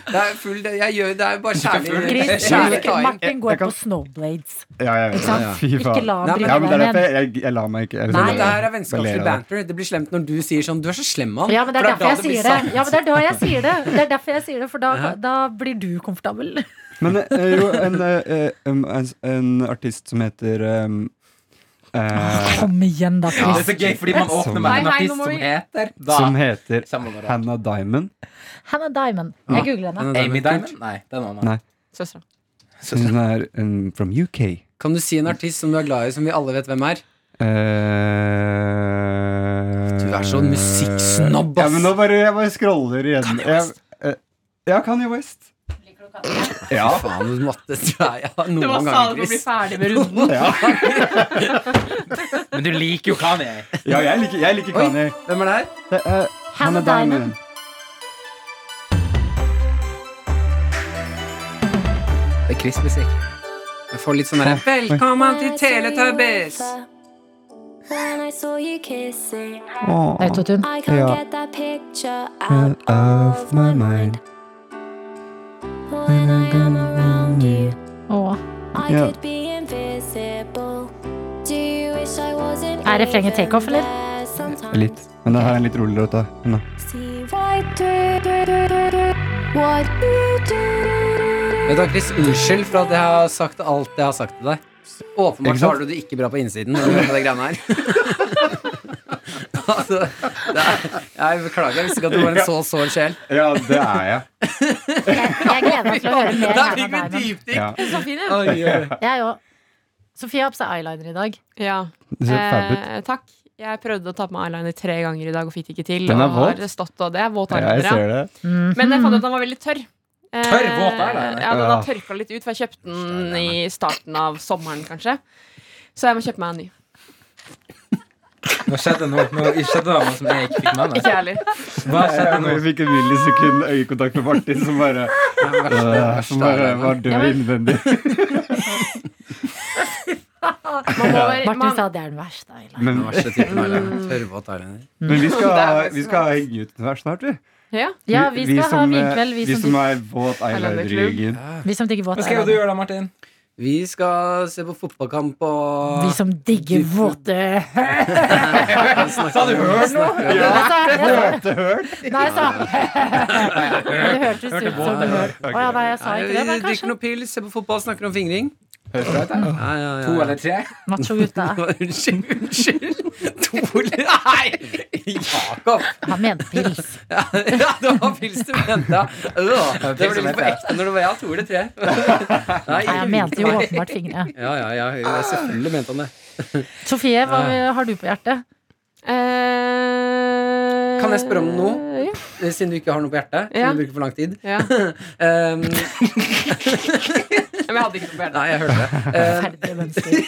Speaker 2: Det er full, det, jeg gjør, det er bare kjærlig,
Speaker 3: Chris,
Speaker 2: kjærlig taing.
Speaker 3: Martin
Speaker 6: Jeg
Speaker 3: går
Speaker 6: kan-
Speaker 3: på snowblades.
Speaker 6: Ja, jeg
Speaker 3: Ikke
Speaker 6: vet det.
Speaker 3: sant?
Speaker 6: Fy
Speaker 3: Ikke
Speaker 6: faen.
Speaker 3: la ham
Speaker 2: Nei,
Speaker 3: bringe
Speaker 6: Ja, men det
Speaker 3: deg
Speaker 6: er
Speaker 3: ned.
Speaker 6: derfor jeg, jeg, jeg lar meg ikke eller
Speaker 3: Nei,
Speaker 6: sånn,
Speaker 2: Det her er
Speaker 6: jeg
Speaker 2: vennskapslig
Speaker 6: ler av det.
Speaker 2: banter. Det blir slemt når du sier sånn Du er så slem med han.
Speaker 3: Ja, men det er
Speaker 2: For
Speaker 3: derfor jeg
Speaker 2: da
Speaker 3: sier
Speaker 2: blir
Speaker 3: det.
Speaker 2: sant.
Speaker 3: Ja, men det er da jeg sier det. Det er derfor jeg sier det, for da, da blir du komfortabel.
Speaker 6: Men eh, jo, en, eh, em, en, en artist som heter em, eh,
Speaker 2: Ah,
Speaker 3: Kom igjen, da,
Speaker 5: Det er
Speaker 3: Chris.
Speaker 5: så gøy, fordi man åpner med en
Speaker 4: Nei, nei, nå
Speaker 5: artist
Speaker 4: må
Speaker 5: som
Speaker 4: vi-
Speaker 5: heter da.
Speaker 6: Som heter
Speaker 5: Samme hva det er.
Speaker 6: Hannah Diamond.
Speaker 3: Hannah Diamond. Jeg googler henne.
Speaker 5: Amy Diamond? Nei, det er noen annen.
Speaker 6: Nei.
Speaker 4: Søstera.
Speaker 6: Hun er em, from UK.
Speaker 2: Kan du si en artist som du er glad i, som vi alle vet hvem er?
Speaker 6: Eh, Du
Speaker 2: er så musikksnobb, ass.
Speaker 6: Ja, men nå bare, jeg bare scroller igjen. Kanye West. Jeg, eh, ja, Kanye West.
Speaker 2: Ja, faen, du måtte ja,
Speaker 4: Det var
Speaker 2: Noen ganger,
Speaker 4: salen å bli
Speaker 2: Chris.
Speaker 4: ferdig med runden.
Speaker 6: Ja,
Speaker 5: Men du liker jo Kanye.
Speaker 6: ja jeg, liker, jeg liker
Speaker 2: Oi,
Speaker 6: Kanye.
Speaker 2: hvem er det her?
Speaker 6: Det er
Speaker 3: Hannah
Speaker 6: Hannah Diamond.
Speaker 3: Diamond.
Speaker 5: Det er Chris-musikk.
Speaker 2: Jeg får litt sånn derre Velkommen til Teletubbies!
Speaker 8: When I saw you kissing,
Speaker 3: Det er jo Totun.
Speaker 8: I can't
Speaker 6: Ja.
Speaker 8: get that picture
Speaker 6: Out
Speaker 8: out
Speaker 6: of my mind.
Speaker 8: When I am around you,
Speaker 3: Åh.
Speaker 8: I
Speaker 6: Ja.
Speaker 8: could be invisible. Do you wish I wasn't
Speaker 3: Er refrenget
Speaker 8: even
Speaker 3: takeoff, eller?
Speaker 8: there sometimes?
Speaker 6: Litt. Men det her er en litt rolig låt. da. Men da.
Speaker 8: See right through, through, through, through, through what you do.
Speaker 2: Vet du hva, Chris, Unnskyld for at jeg har sagt alt jeg har sagt til deg.
Speaker 6: Ikke
Speaker 2: Åpenbart
Speaker 6: sant?
Speaker 2: så har du det ikke bra på innsiden. Når du hører på det greiene her altså, det er, jeg beklager, jeg visste ikke at du var en så sår sjel.
Speaker 6: Ja, det er jeg.
Speaker 3: Jeg, jeg gleder meg til å høre mer
Speaker 2: Der
Speaker 3: Herman
Speaker 2: fikk vi
Speaker 3: Berman.
Speaker 2: dypdykk!
Speaker 6: Ja.
Speaker 4: Så fin, ja.
Speaker 2: Oi, oi.
Speaker 3: Jeg òg. Sofie har på seg eyeliner i dag.
Speaker 4: ja.
Speaker 6: Du ser fab ut.
Speaker 4: Eh, takk. Jeg prøvde å ta på meg eyeliner tre ganger i dag og fikk det ikke til.
Speaker 6: Den er
Speaker 4: og har
Speaker 6: våt.
Speaker 4: stått, og det er våt
Speaker 6: Eh, Ja, jeg
Speaker 4: eyeliner. ja.
Speaker 6: ser det.
Speaker 4: Men jeg fant ut at den var veldig tørr. Eh,
Speaker 5: Tørr, våt eyeliner?
Speaker 4: Ja, den har
Speaker 6: Ja.
Speaker 4: tørka litt ut, for jeg kjøpte den i starten av sommeren, kanskje. Så jeg må kjøpe meg en ny.
Speaker 5: Nå skjedde noe, noe skjedde noe som jeg ikke fikk med meg.
Speaker 4: Ikke ærlig.
Speaker 5: Hva skjedde nå?
Speaker 6: Jeg Eh, fikk en millisekund øyekontakt med Martin, som bare, øh, som bare var
Speaker 4: Ja,
Speaker 6: død
Speaker 4: men-
Speaker 6: innvendig.
Speaker 4: Man må være,
Speaker 3: Martin
Speaker 4: man,
Speaker 3: sa det er den verste eyelineren.
Speaker 6: Men,
Speaker 2: Den verste typen eyeliner. Tørrvåt eyeliner.
Speaker 3: Mm.
Speaker 6: men vi,
Speaker 4: Det er
Speaker 6: skal,
Speaker 4: faktisk-
Speaker 6: vi skal henge ut her snart, vi.
Speaker 4: ja.
Speaker 3: Ja, vi skal ha
Speaker 6: eh,
Speaker 3: vinkveld, vi,
Speaker 6: vi
Speaker 3: som
Speaker 6: som er våt eyeliner-ryggen.
Speaker 3: digger- vi som digger våt
Speaker 5: Hva skal du
Speaker 3: eyeliner.
Speaker 5: gjøre da, Martin?
Speaker 2: Vi skal se på fotballkamp og
Speaker 3: Vi som digger våte
Speaker 2: Sa du hørt noe?
Speaker 3: Jeg sa- jeg sa- Nei, jeg sa Det hørtes ut som du hørte. Å ja, nei, jeg sa ikke det.
Speaker 2: Vi
Speaker 3: Men
Speaker 2: drikker
Speaker 3: kanskje
Speaker 2: noe pils, ser på fotball, snakker om fingring.
Speaker 5: Høres bra ut, da.
Speaker 2: Ja, ja, ja.
Speaker 5: To eller tre?
Speaker 3: machogutta.
Speaker 2: Unnskyld, unnskyld. To eller Nei! Jakob!
Speaker 3: Han mente pils.
Speaker 2: Ja, det var pils du mente. Øh, Det ble litt på ekte når det var ja, to eller tre. Nei,
Speaker 3: Nei, jeg mente jo åpenbart fingre.
Speaker 2: Ja, ja, ja, ja, selvfølgelig mente han det.
Speaker 3: Sofie, hva har du på hjertet?
Speaker 4: Eh,
Speaker 2: Kan jeg spørre om noe?
Speaker 4: Ja.
Speaker 2: Eh, Siden du ikke har noe på hjertet.
Speaker 4: Ja.
Speaker 2: Siden du bruker for lang tid.
Speaker 4: ja.
Speaker 2: Um,
Speaker 4: Men jeg hadde ikke noe bedre.
Speaker 2: nei, jeg hørte det. Um,
Speaker 3: Ferdige mennesker.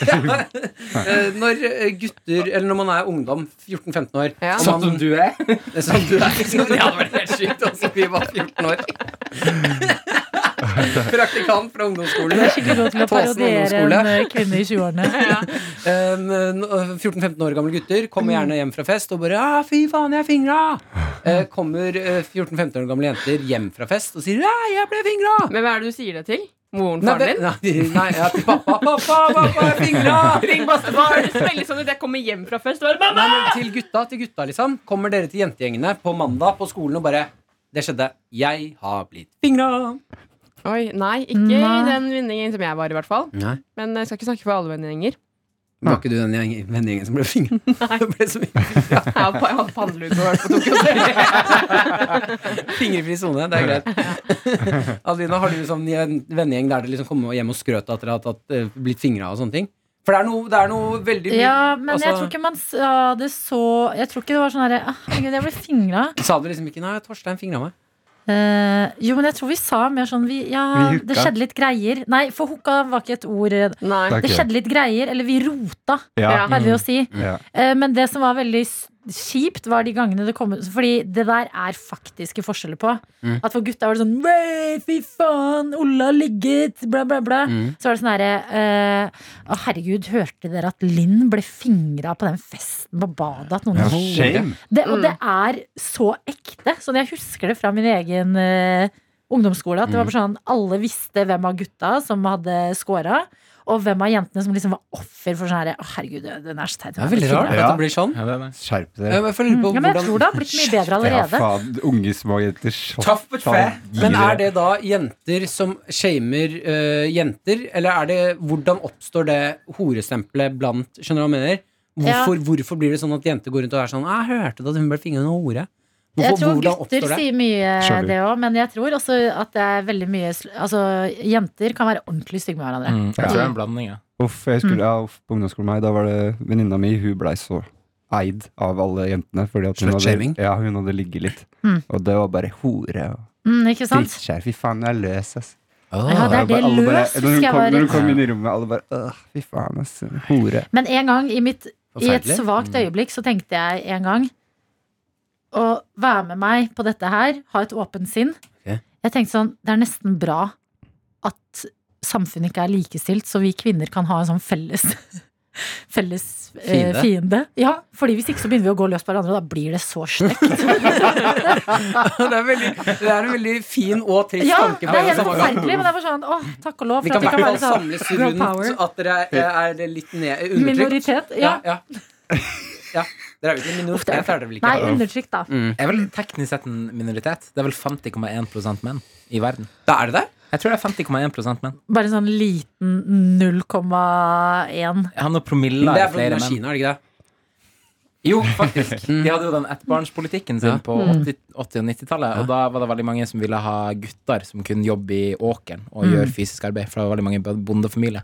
Speaker 2: Eh, når eh, gutter, eller når man er ungdom, 14-15 år
Speaker 4: Ja.
Speaker 2: og
Speaker 5: Sånn
Speaker 2: man,
Speaker 5: som du er?
Speaker 2: Eh, Som du er. Det hadde vært helt sykt om Sofie var 14 år. Praktikant fra
Speaker 3: Du
Speaker 2: ungdomsskolen.
Speaker 3: er skikkelig god til å
Speaker 2: Tåsen
Speaker 3: parodiere
Speaker 2: ungdomsskole.
Speaker 3: en eh, kvinne i 20-årene.
Speaker 2: Eh, n- eh, 14-15 år gamle gutter kommer gjerne hjem fra fest og bare «Ah, 'Fy faen, jeg fingra!' Eh, kommer eh, 14-15 år gamle jenter hjem fra fest og sier 'Ja, jeg ble fingra!'
Speaker 4: Men hvem er det du sier det til? Moren,
Speaker 2: Nei,
Speaker 4: faren
Speaker 2: det-
Speaker 4: din?
Speaker 2: nei, nei, ja, til pappa, pappa, pappa, jeg fingra! Ring
Speaker 4: Det var veldig sånn at jeg kommer hjem fra fest og bare
Speaker 2: Nei, men til gutta, til gutta liksom Kommer dere til jentegjengene på mandag på skolen og bare Det skjedde, jeg har blitt fingra
Speaker 4: Oi, nei, ikke i
Speaker 3: Nei.
Speaker 4: den vendingen som jeg var i hvert fall.
Speaker 2: Nei,
Speaker 4: Men jeg skal ikke snakke for alle vennegjenger.
Speaker 2: var ikke du den gjeng- vennegjengen som ble fingra? Det ble så mye
Speaker 4: Jeg hadde pa- jeg hadde pannelue på på Tokyo.
Speaker 2: fingerfri sone, det er greit Adelina, har du sånn en vennegjeng der dere liksom kommer hjem og skrøt at dere har tatt, eh, blitt fingra og sånne ting? For det er noe, det er noe veldig mye
Speaker 3: Ja, men jeg
Speaker 2: altså-
Speaker 3: tror ikke man sa det så Jeg tror ikke det var sånn herre «Ah, Herregud, jeg ble fingra.
Speaker 2: Sa du liksom ikke, nei, Torstein fingra meg
Speaker 3: Eh, jo, men jeg tror vi sa mer sånn vi, Ja,
Speaker 6: Vi hooka.
Speaker 3: det skjedde litt greier. Nei, for hooka var ikke et ord. eh,
Speaker 4: Nei.
Speaker 6: Takk.
Speaker 3: Det
Speaker 6: Ok. Mm.
Speaker 3: skjedde litt greier, eller vi rota,
Speaker 4: Ja.
Speaker 3: pleier vi å si.
Speaker 6: Ja.
Speaker 3: Eh, Men det som var veldig s- kjipt, var de gangene det kom Fordi det der er faktiske forskjeller på.
Speaker 2: Mm.
Speaker 3: At for gutta var det sånn «Nei, Fy faen, Olla har ligget, bla, bla, bla.
Speaker 2: Mm.
Speaker 3: Så var det sånn herre Å, herregud, hørte dere at Linn ble fingra på den festen på badet? At noen
Speaker 6: Ja,
Speaker 3: gjorde
Speaker 6: shame.
Speaker 3: det, og det er så ekte. Sånn, jeg husker det fra min egen eh, ungdomsskole. At det var bare
Speaker 2: Mm.
Speaker 3: sånn, Alle visste hvem av gutta som hadde scora, og hvem av jentene som liksom var offer for sånn her Å, herregud, den er så teit.
Speaker 2: Det er veldig rart at
Speaker 6: Ja.
Speaker 2: det blir sånn
Speaker 6: Skjerp
Speaker 2: Eh,
Speaker 6: dere.
Speaker 2: men jeg føler på
Speaker 3: Ja, men jeg
Speaker 2: hvordan-
Speaker 3: tror det har blitt mye bedre
Speaker 6: Ja,
Speaker 3: allerede.
Speaker 6: faen. Unge små jenter. så
Speaker 5: Tough but fair.
Speaker 6: faen, gir
Speaker 2: Men er
Speaker 6: dere.
Speaker 2: det da jenter som shamer eh, jenter, eller er det hvordan oppstår det horestempelet blant Skjønner du hva jeg mener? Hvorfor, hvorfor blir det sånn at jenter går rundt og er sånn 'Jeg hørte at hun ble fingra av en hore'?
Speaker 3: Jeg
Speaker 2: Hvorfor,
Speaker 3: tror
Speaker 2: hvordan
Speaker 3: gutter
Speaker 2: oppstår det?
Speaker 3: sier mye eh,
Speaker 6: Skjønner.
Speaker 3: det òg, men jeg tror også at det er veldig mye sl- Altså, jenter kan være ordentlig stygge med
Speaker 2: Mm.
Speaker 3: hverandre.
Speaker 5: Mm. Jeg tror det er en blanding, ja.
Speaker 6: Uff, jeg
Speaker 3: Mm.
Speaker 6: skulle, ja, uff, på ungdomsskolen meg, da var det venninna mi, hun blei så eid av alle jentene. Fordi at hun
Speaker 2: Slutshaming?
Speaker 6: hadde, ja, hun hadde ligget litt.
Speaker 3: Mm.
Speaker 6: Og det var bare hore og
Speaker 3: Mm, ikke sant?
Speaker 6: drittskjær. Fy faen, jeg er løs, ass.
Speaker 3: Ja, det er det
Speaker 6: Alle bare-
Speaker 3: løs,
Speaker 6: når, hun
Speaker 3: husker jeg
Speaker 6: kom, når
Speaker 3: var.
Speaker 6: hun kom inn i rommet, alle bare Åh, fy faen, ass. Hore.
Speaker 3: Men en gang i mitt I et
Speaker 2: Forferdelig. Mm.
Speaker 3: svakt øyeblikk så tenkte jeg en gang å være med meg på dette her, ha et åpent sinn.
Speaker 2: Ok.
Speaker 3: Jeg tenkte sånn, det er nesten bra at samfunnet ikke er likestilt, så vi kvinner kan ha en sånn felles Felles eh,
Speaker 2: Fiende.
Speaker 3: fiende. Ja, fordi hvis ikke så begynner vi å gå løs på hverandre, og da blir det så stygt.
Speaker 2: det, er veldig, det er en veldig fin og trist
Speaker 3: Ja,
Speaker 2: tanke.
Speaker 3: det
Speaker 2: på
Speaker 3: er helt
Speaker 2: samme gang.
Speaker 3: forferdelig, men det er bare sånn, åh, takk og lov
Speaker 2: Vi
Speaker 3: for
Speaker 2: kan i hvert
Speaker 3: at det kan
Speaker 2: fall
Speaker 3: være sånn
Speaker 2: samles
Speaker 3: girl power.
Speaker 2: rundt at dere er, er det litt ned, undertrykt.
Speaker 3: minoritet. Ja.
Speaker 2: ja. ja. Dere er jo ikke en minoritet, er dere vel ikke?
Speaker 3: Nei, undertrykt, da.
Speaker 5: Jeg er vel teknisk sett en minoritet. Det er vel 50,1 menn i verden.
Speaker 2: Da er det det?
Speaker 5: Jeg tror det er 50,1 menn.
Speaker 3: Bare sånn liten 0,1.
Speaker 5: Jeg har noen
Speaker 2: Men
Speaker 5: promiller
Speaker 2: det
Speaker 5: i
Speaker 2: er fra
Speaker 5: flere menn.
Speaker 2: Kina, er det ikke det?
Speaker 5: Jo, faktisk. De hadde jo den ettbarnspolitikken sin
Speaker 2: Ja.
Speaker 5: på
Speaker 3: Mm.
Speaker 5: 80-, 80 og 90-tallet. Og da var det veldig mange som ville ha gutter som kunne jobbe i åkeren
Speaker 3: Mm.
Speaker 5: og gjøre fysisk arbeid. For det var veldig mange bø- bondefamilier.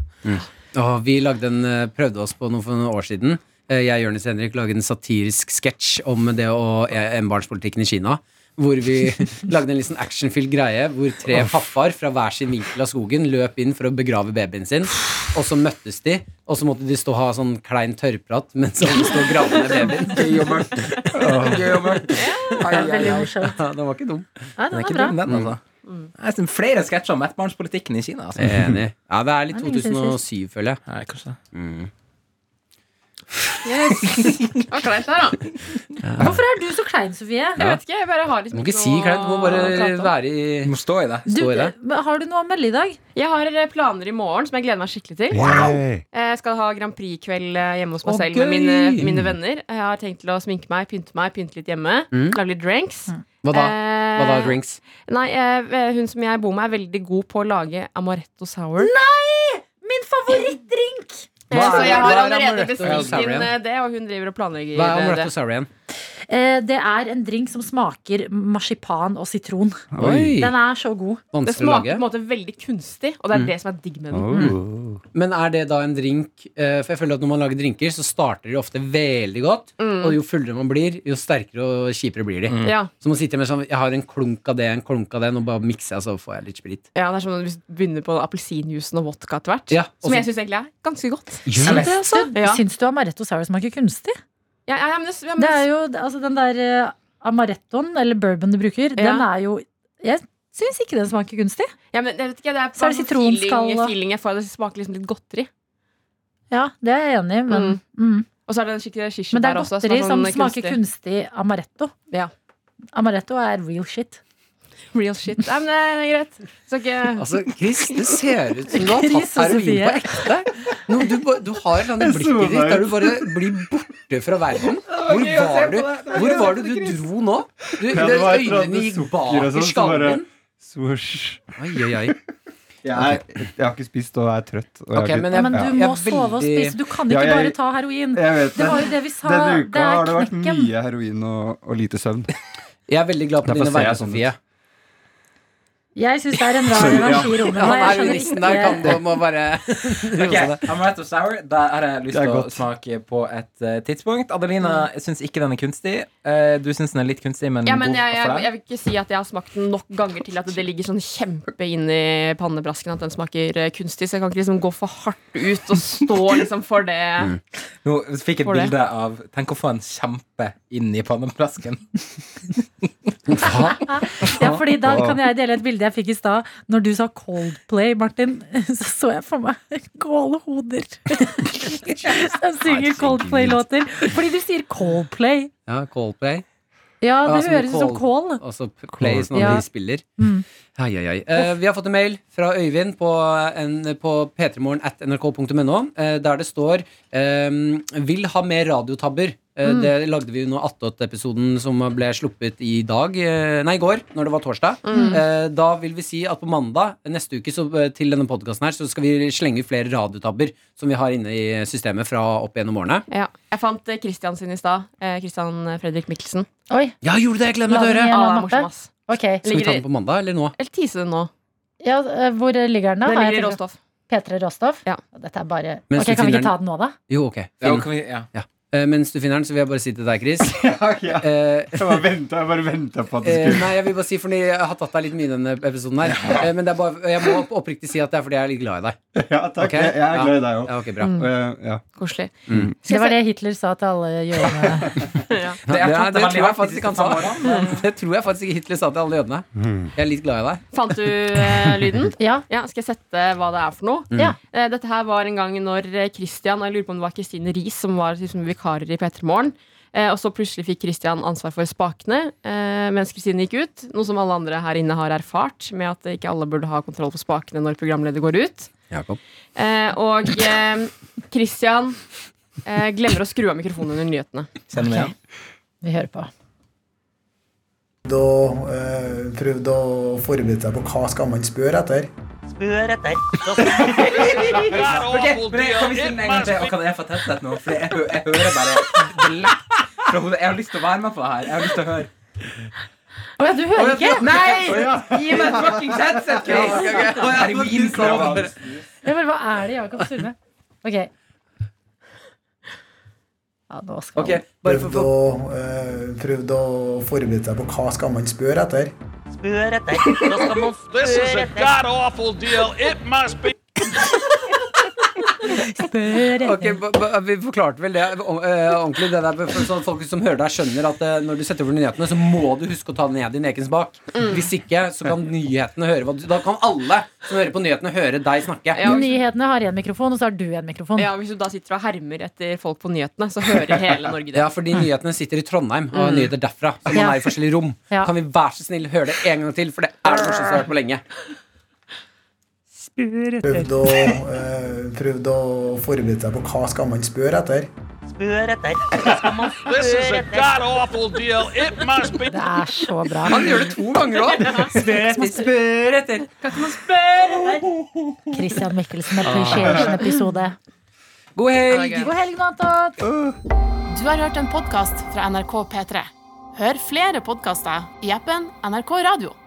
Speaker 2: Og vi lagde en, eh, prøvde oss på noe for noen år siden. Eh, Jeg og Jonis Henrik lagde en satirisk sketsj om det og barnspolitikken i Kina. Hvor vi lagde en litt sånn actionfylt greie hvor tre pappaer fra hver sin vinkel av skogen løp inn for å begrave babyen sin. Og så møttes de, og så måtte de stå og ha sånn klein tørrprat mens alle sto og gravde ned babyen.
Speaker 5: Gøy og mørkt. Gøy og mørkt. Ai, ai,
Speaker 3: Veldig
Speaker 5: ai.
Speaker 3: morsomt.
Speaker 2: Ja, den var ikke dum.
Speaker 3: Ja,
Speaker 5: Den er
Speaker 3: den
Speaker 5: ikke
Speaker 3: var bra. Mm.
Speaker 5: dum, den, altså. Jeg synes flere sketsjer om ettbarnspolitikken i Kina. Altså.
Speaker 2: Enig. Ja, det er litt
Speaker 3: Det er lenge siden
Speaker 2: 2007, føler jeg.
Speaker 5: Nei, kanskje det.
Speaker 4: Yes. Det var kleint her, da.
Speaker 3: Hvorfor er du så klein, Sofie?
Speaker 4: Jeg vet ikke, jeg bare har
Speaker 2: Du
Speaker 4: liksom
Speaker 2: må ikke
Speaker 4: noe
Speaker 2: si kleint, du må bare
Speaker 4: å prate om.
Speaker 2: være
Speaker 5: Du
Speaker 2: i
Speaker 5: må stå i det.
Speaker 3: Du,
Speaker 2: Står det?
Speaker 3: men har du noe å melde i dag?
Speaker 4: Jeg har eh, planer i morgen som jeg gleder meg skikkelig til. Jeg Eh, skal ha Grand Prix-kveld eh, hjemme hos meg
Speaker 2: Å,
Speaker 4: selv med
Speaker 2: gøy!
Speaker 4: mine, mine venner. Jeg har tenkt til å sminke meg, pynte meg, pynte litt hjemme.
Speaker 2: Mm.
Speaker 4: Lage litt drinks.
Speaker 2: Hva da? Hva da,
Speaker 4: Eh,
Speaker 2: drinks?
Speaker 4: Nei, eh, hun som jeg bor med, er veldig god på å lage amaretto sour.
Speaker 3: Min favorittdrink!
Speaker 4: Eh,
Speaker 2: Hva
Speaker 4: så
Speaker 2: er-
Speaker 4: jeg
Speaker 2: hva er
Speaker 4: har
Speaker 2: amaretto
Speaker 4: allerede bestilt
Speaker 2: sour igjen?
Speaker 4: inn eh, det, og hun driver og planlegger
Speaker 2: Hva er
Speaker 4: det.
Speaker 2: Amaretto Sour igjen?
Speaker 3: Eh, det er en drink som smaker marsipan og sitron.
Speaker 2: Oi!
Speaker 3: Den er så god.
Speaker 4: Det
Speaker 2: Vanskelig å
Speaker 4: smaker på
Speaker 2: lage. Mm.
Speaker 4: en måte veldig kunstig, og det er det som er digg med den.
Speaker 3: Mm.
Speaker 6: Oh.
Speaker 2: Men er det da en drink eh, For jeg føler at når man lager drinker, så starter de ofte veldig godt.
Speaker 3: Mm.
Speaker 2: Og jo fullere man blir, jo sterkere og kjipere blir
Speaker 6: Mm.
Speaker 2: de.
Speaker 4: Ja,
Speaker 2: Så man sitter med sånn Jeg har en klunk av det, en klunk av den, og bare mikser jeg, så får jeg litt sprit.
Speaker 4: ja, det er som om du begynner på appelsinjuicen og vodka etter hvert.
Speaker 2: Ja, og
Speaker 4: Som jeg
Speaker 2: så-
Speaker 4: syns egentlig er ganske godt.
Speaker 5: Eller-
Speaker 4: Det, altså. ja.
Speaker 3: Syns du amaretto sour smaker kunstig?
Speaker 4: Ja, ja, ja, men det, ja, men
Speaker 3: Det er jo altså, den der eh, amarettoen, eller bourbon du bruker,
Speaker 4: Ja.
Speaker 3: den er jo Jeg syns ikke den smaker kunstig.
Speaker 4: Ja, men jeg vet ikke, det er
Speaker 3: Så er det
Speaker 4: bare sånn
Speaker 3: sitronskall,
Speaker 4: feeling,
Speaker 3: da.
Speaker 4: feeling jeg får. Det smaker liksom litt godteri.
Speaker 3: Ja, det er jeg enig i, men mm.
Speaker 4: Og så er det en skikkelig shish
Speaker 3: Men det er
Speaker 4: der også.
Speaker 3: godteri som
Speaker 4: er sånn
Speaker 3: smaker kunstig amaretto.
Speaker 4: Ja.
Speaker 3: Amaretto er real shit.
Speaker 4: Real shit. Nei, men det er greit. Så ikke
Speaker 2: Altså, Chris, det ser ut som du har
Speaker 3: Chris
Speaker 2: tatt heroin
Speaker 3: og Sofie.
Speaker 2: på ekte. No, du, ba- du har sånne blikket ditt der du bare blir borte fra verden. Hvor var du, hvor var det du dro nå? Du,
Speaker 6: Ja, det var et eller
Speaker 2: øynene
Speaker 6: annet
Speaker 2: gikk
Speaker 6: sukker og
Speaker 2: bak i
Speaker 6: sånn, så
Speaker 2: skallen
Speaker 6: bare-
Speaker 2: din.
Speaker 6: Swoosh.
Speaker 2: Oi, oi, oi.
Speaker 6: Jeg, er- jeg har ikke spist og er trøtt. Og jeg, har
Speaker 2: Ok,
Speaker 6: ikke-
Speaker 2: men
Speaker 3: Ja,
Speaker 2: jeg,
Speaker 3: men du
Speaker 2: jeg
Speaker 3: må
Speaker 2: er
Speaker 3: sove og
Speaker 2: veldig-
Speaker 3: spise. Du kan
Speaker 6: Ja,
Speaker 3: ikke
Speaker 6: jeg-
Speaker 3: bare ta heroin.
Speaker 6: jeg vet
Speaker 3: Det
Speaker 6: det.
Speaker 3: var jo det vi sa.
Speaker 6: Denne uka
Speaker 3: det
Speaker 6: har
Speaker 3: er
Speaker 6: det vært
Speaker 3: knekken.
Speaker 6: mye heroin og, og lite søvn.
Speaker 2: Jeg er veldig glad på
Speaker 6: Derfor
Speaker 2: dine
Speaker 6: ser jeg
Speaker 2: vegne,
Speaker 6: sånn ut.
Speaker 2: Sofie.
Speaker 3: Jeg syns det er en rar
Speaker 6: Sorry, ja.
Speaker 3: energi i rommet.
Speaker 2: Han
Speaker 3: og jeg
Speaker 2: er
Speaker 3: skjønner
Speaker 2: juristen der,
Speaker 3: ikke-
Speaker 2: kan og må bare
Speaker 5: Ok,
Speaker 2: Altså,
Speaker 5: Amaretto sour, da har jeg lyst
Speaker 6: Det er
Speaker 5: til å
Speaker 6: godt.
Speaker 5: smake på et eh, tidspunkt. Adelina syns ikke den er kunstig. Eh, du syns den er litt kunstig, men,
Speaker 4: ja, men
Speaker 5: god
Speaker 4: jeg, jeg,
Speaker 5: for
Speaker 4: jeg
Speaker 5: deg.
Speaker 4: vil ikke si at jeg har smakt den nok ganger til at det ligger sånn kjempe inn i pannebrasken at den smaker eh, kunstig. Så jeg kan ikke liksom gå for hardt ut og stå liksom for det.
Speaker 2: Mm.
Speaker 5: Nå fikk jeg
Speaker 4: For
Speaker 5: et
Speaker 4: det.
Speaker 5: bilde av Tenk å få en kjempe inn i panneplasken.
Speaker 3: Ja, fordi da kan jeg dele et bilde jeg fikk i stad. Når du sa Coldplay, Martin, så så jeg for meg gåle hoder. Som synger Coldplay-låter. Fordi du sier Coldplay.
Speaker 2: Ja, Coldplay.
Speaker 3: Ja, det
Speaker 2: Ja, som
Speaker 3: høres ut som
Speaker 2: Cold-
Speaker 3: kål.
Speaker 2: Og så Altså, p- Play som
Speaker 3: Ja.
Speaker 2: de spiller.
Speaker 3: Mm.
Speaker 2: Ai, ai, ai. Eh, vi har fått en mail fra Øyvind på, en- på p3morgen at nrk.no, eh, der det står ehm, 'Vil ha mer radiotabber'. Eh,
Speaker 3: Mm.
Speaker 2: Det lagde vi under Attåt-episoden som ble sluppet i dag eh, Nei, i går, når det var torsdag.
Speaker 3: Mm.
Speaker 2: Eh, Da vil vi si at på mandag neste uke så, eh, til denne podkasten her, så skal vi slenge ut flere radiotabber som vi har inne i systemet fra opp gjennom årene.
Speaker 4: Ja. Jeg fant eh, Christian sin i stad. Eh, Christian Fredrik Mikkelsen.
Speaker 3: Oi,
Speaker 2: Ja, gjorde det! Jeg gleder meg
Speaker 3: La
Speaker 2: til å
Speaker 3: den
Speaker 2: høre!
Speaker 3: igjen.
Speaker 4: Ah, det er
Speaker 3: mappe?
Speaker 4: morsom, ass.
Speaker 3: ok.
Speaker 2: Skal vi ta den
Speaker 4: Ligger,
Speaker 2: på mandag, eller nå?
Speaker 4: eller tise den nå.
Speaker 3: Ja, eh, hvor ligger den, da?
Speaker 4: Den
Speaker 3: Har jeg
Speaker 4: ligger i
Speaker 3: tenkt-
Speaker 4: råstoff.
Speaker 3: P3 Råstoff?
Speaker 4: Ja.
Speaker 3: Dette er bare
Speaker 2: Mens du
Speaker 3: Ok, Kan vi
Speaker 2: finner
Speaker 3: ikke ta den nå, da?
Speaker 2: Jo, ok.
Speaker 5: Ja,
Speaker 2: Finn.
Speaker 5: kan vi, ja.
Speaker 2: Eh, mens du finner den, så vil jeg bare si til deg, Chris
Speaker 6: jeg,
Speaker 2: eh,
Speaker 6: bare ventet, jeg bare venta på at det
Speaker 2: eh,
Speaker 6: skulle
Speaker 2: Nei, jeg vil bare si, fordi jeg har tatt deg litt mye i denne episoden her. Eh, men det er bare, jeg må opp- oppriktig si at det er fordi jeg er litt glad i deg.
Speaker 6: Ja, takk.
Speaker 2: Ok.
Speaker 6: Jeg, jeg er glad i deg òg.
Speaker 2: Ja, ok, bra.
Speaker 4: Mm.
Speaker 6: Og jeg- Ja.
Speaker 4: Koselig.
Speaker 2: Mm.
Speaker 3: Det var det Hitler sa til alle jødene.
Speaker 4: Ja.
Speaker 2: Det,
Speaker 5: jeg
Speaker 2: er- det
Speaker 5: tatt veldig
Speaker 2: tror jeg
Speaker 5: hardt de
Speaker 2: faktisk
Speaker 5: siste
Speaker 2: han sa.
Speaker 5: fem årene.
Speaker 2: Det tror jeg faktisk ikke Hitler sa til alle jødene. Jeg er litt glad i deg.
Speaker 4: Fant du eh, lyden?
Speaker 3: Ja.
Speaker 4: Ja, Skal jeg sette hva det er for noe?
Speaker 7: Mm.
Speaker 3: Ja.
Speaker 4: Eh, Dette her var en gang når eh, Christian og Jeg lurer på om det var Kristine Riis som var liksom, vikarer i P3 Morgen. Eh, og så plutselig fikk Christian ansvar for spakene eh, mens Kristine gikk ut. Noe som alle andre her inne har erfart, med at eh, ikke alle burde ha kontroll på spakene når programleder går ut. Eh, og eh, Christian eh, glemmer å skru av mikrofonen under nyhetene.
Speaker 5: Kjenner vi igjen?
Speaker 3: Vi hører på.
Speaker 9: og eh, prøvde å forberede seg på hva skal man spørre etter.
Speaker 5: Ok, men jeg- kan vi synge en gang til? Og kan jeg få testet nå? For jeg, hø- jeg hører bare det lekk- fra hodet. Jeg har lyst til å være med på det her. Jeg har lyst til å høre.
Speaker 7: Å ja, du hører ikke?
Speaker 5: Nei! Gi meg et fuckings headset, Chris! Det er min kravans.
Speaker 7: Jeg bare, hva er det Jakob surrer med? Ok. Ja, nå skal
Speaker 2: Ok, bare for,
Speaker 9: Prøvd
Speaker 2: for,
Speaker 9: å, eh, prøvd å forberede seg på hva skal man spørre etter.
Speaker 10: This is a god awful deal. It must be.
Speaker 7: han spørre.
Speaker 2: ok, ba- ba- vi forklarte vel det eh, ordentlig, det der, for sånn at folk som hører deg, skjønner at eh, når du setter over nyhetene, så må du huske å ta ned din egen spak. Hvis ikke, så kan nyhetene høre hva du Da kan alle som hører på nyhetene, høre deg snakke.
Speaker 4: Ja.
Speaker 3: Nyhetene har én mikrofon, og så har du en mikrofon.
Speaker 4: Ja, Hvis du da sitter og hermer etter folk på nyhetene, så hører hele Norge det.
Speaker 2: Ja, fordi nyhetene sitter i Trondheim og har nyheter derfra. Så man
Speaker 3: Mm. Ja.
Speaker 2: er i forskjellige rom.
Speaker 3: Ja.
Speaker 2: Kan vi vær så snill høre det en gang til, for det er det morsomste jeg har hørt på lenge.
Speaker 9: Prøvd å, eh, prøvd å forberede seg på hva skal man spørre etter.
Speaker 10: This is a god awful deal. It must be.
Speaker 3: Det er så bra.
Speaker 2: Han gjør det to ganger òg. Spør etter.
Speaker 3: Christian Michelsen Appreciation-episode.
Speaker 2: God
Speaker 4: Ja, Ah. det
Speaker 2: helg.
Speaker 4: er gøy.
Speaker 3: God helg, nå, Anton!
Speaker 1: Du har hørt en podkast fra NRK P3. Hør flere podkaster i appen NRK Radio.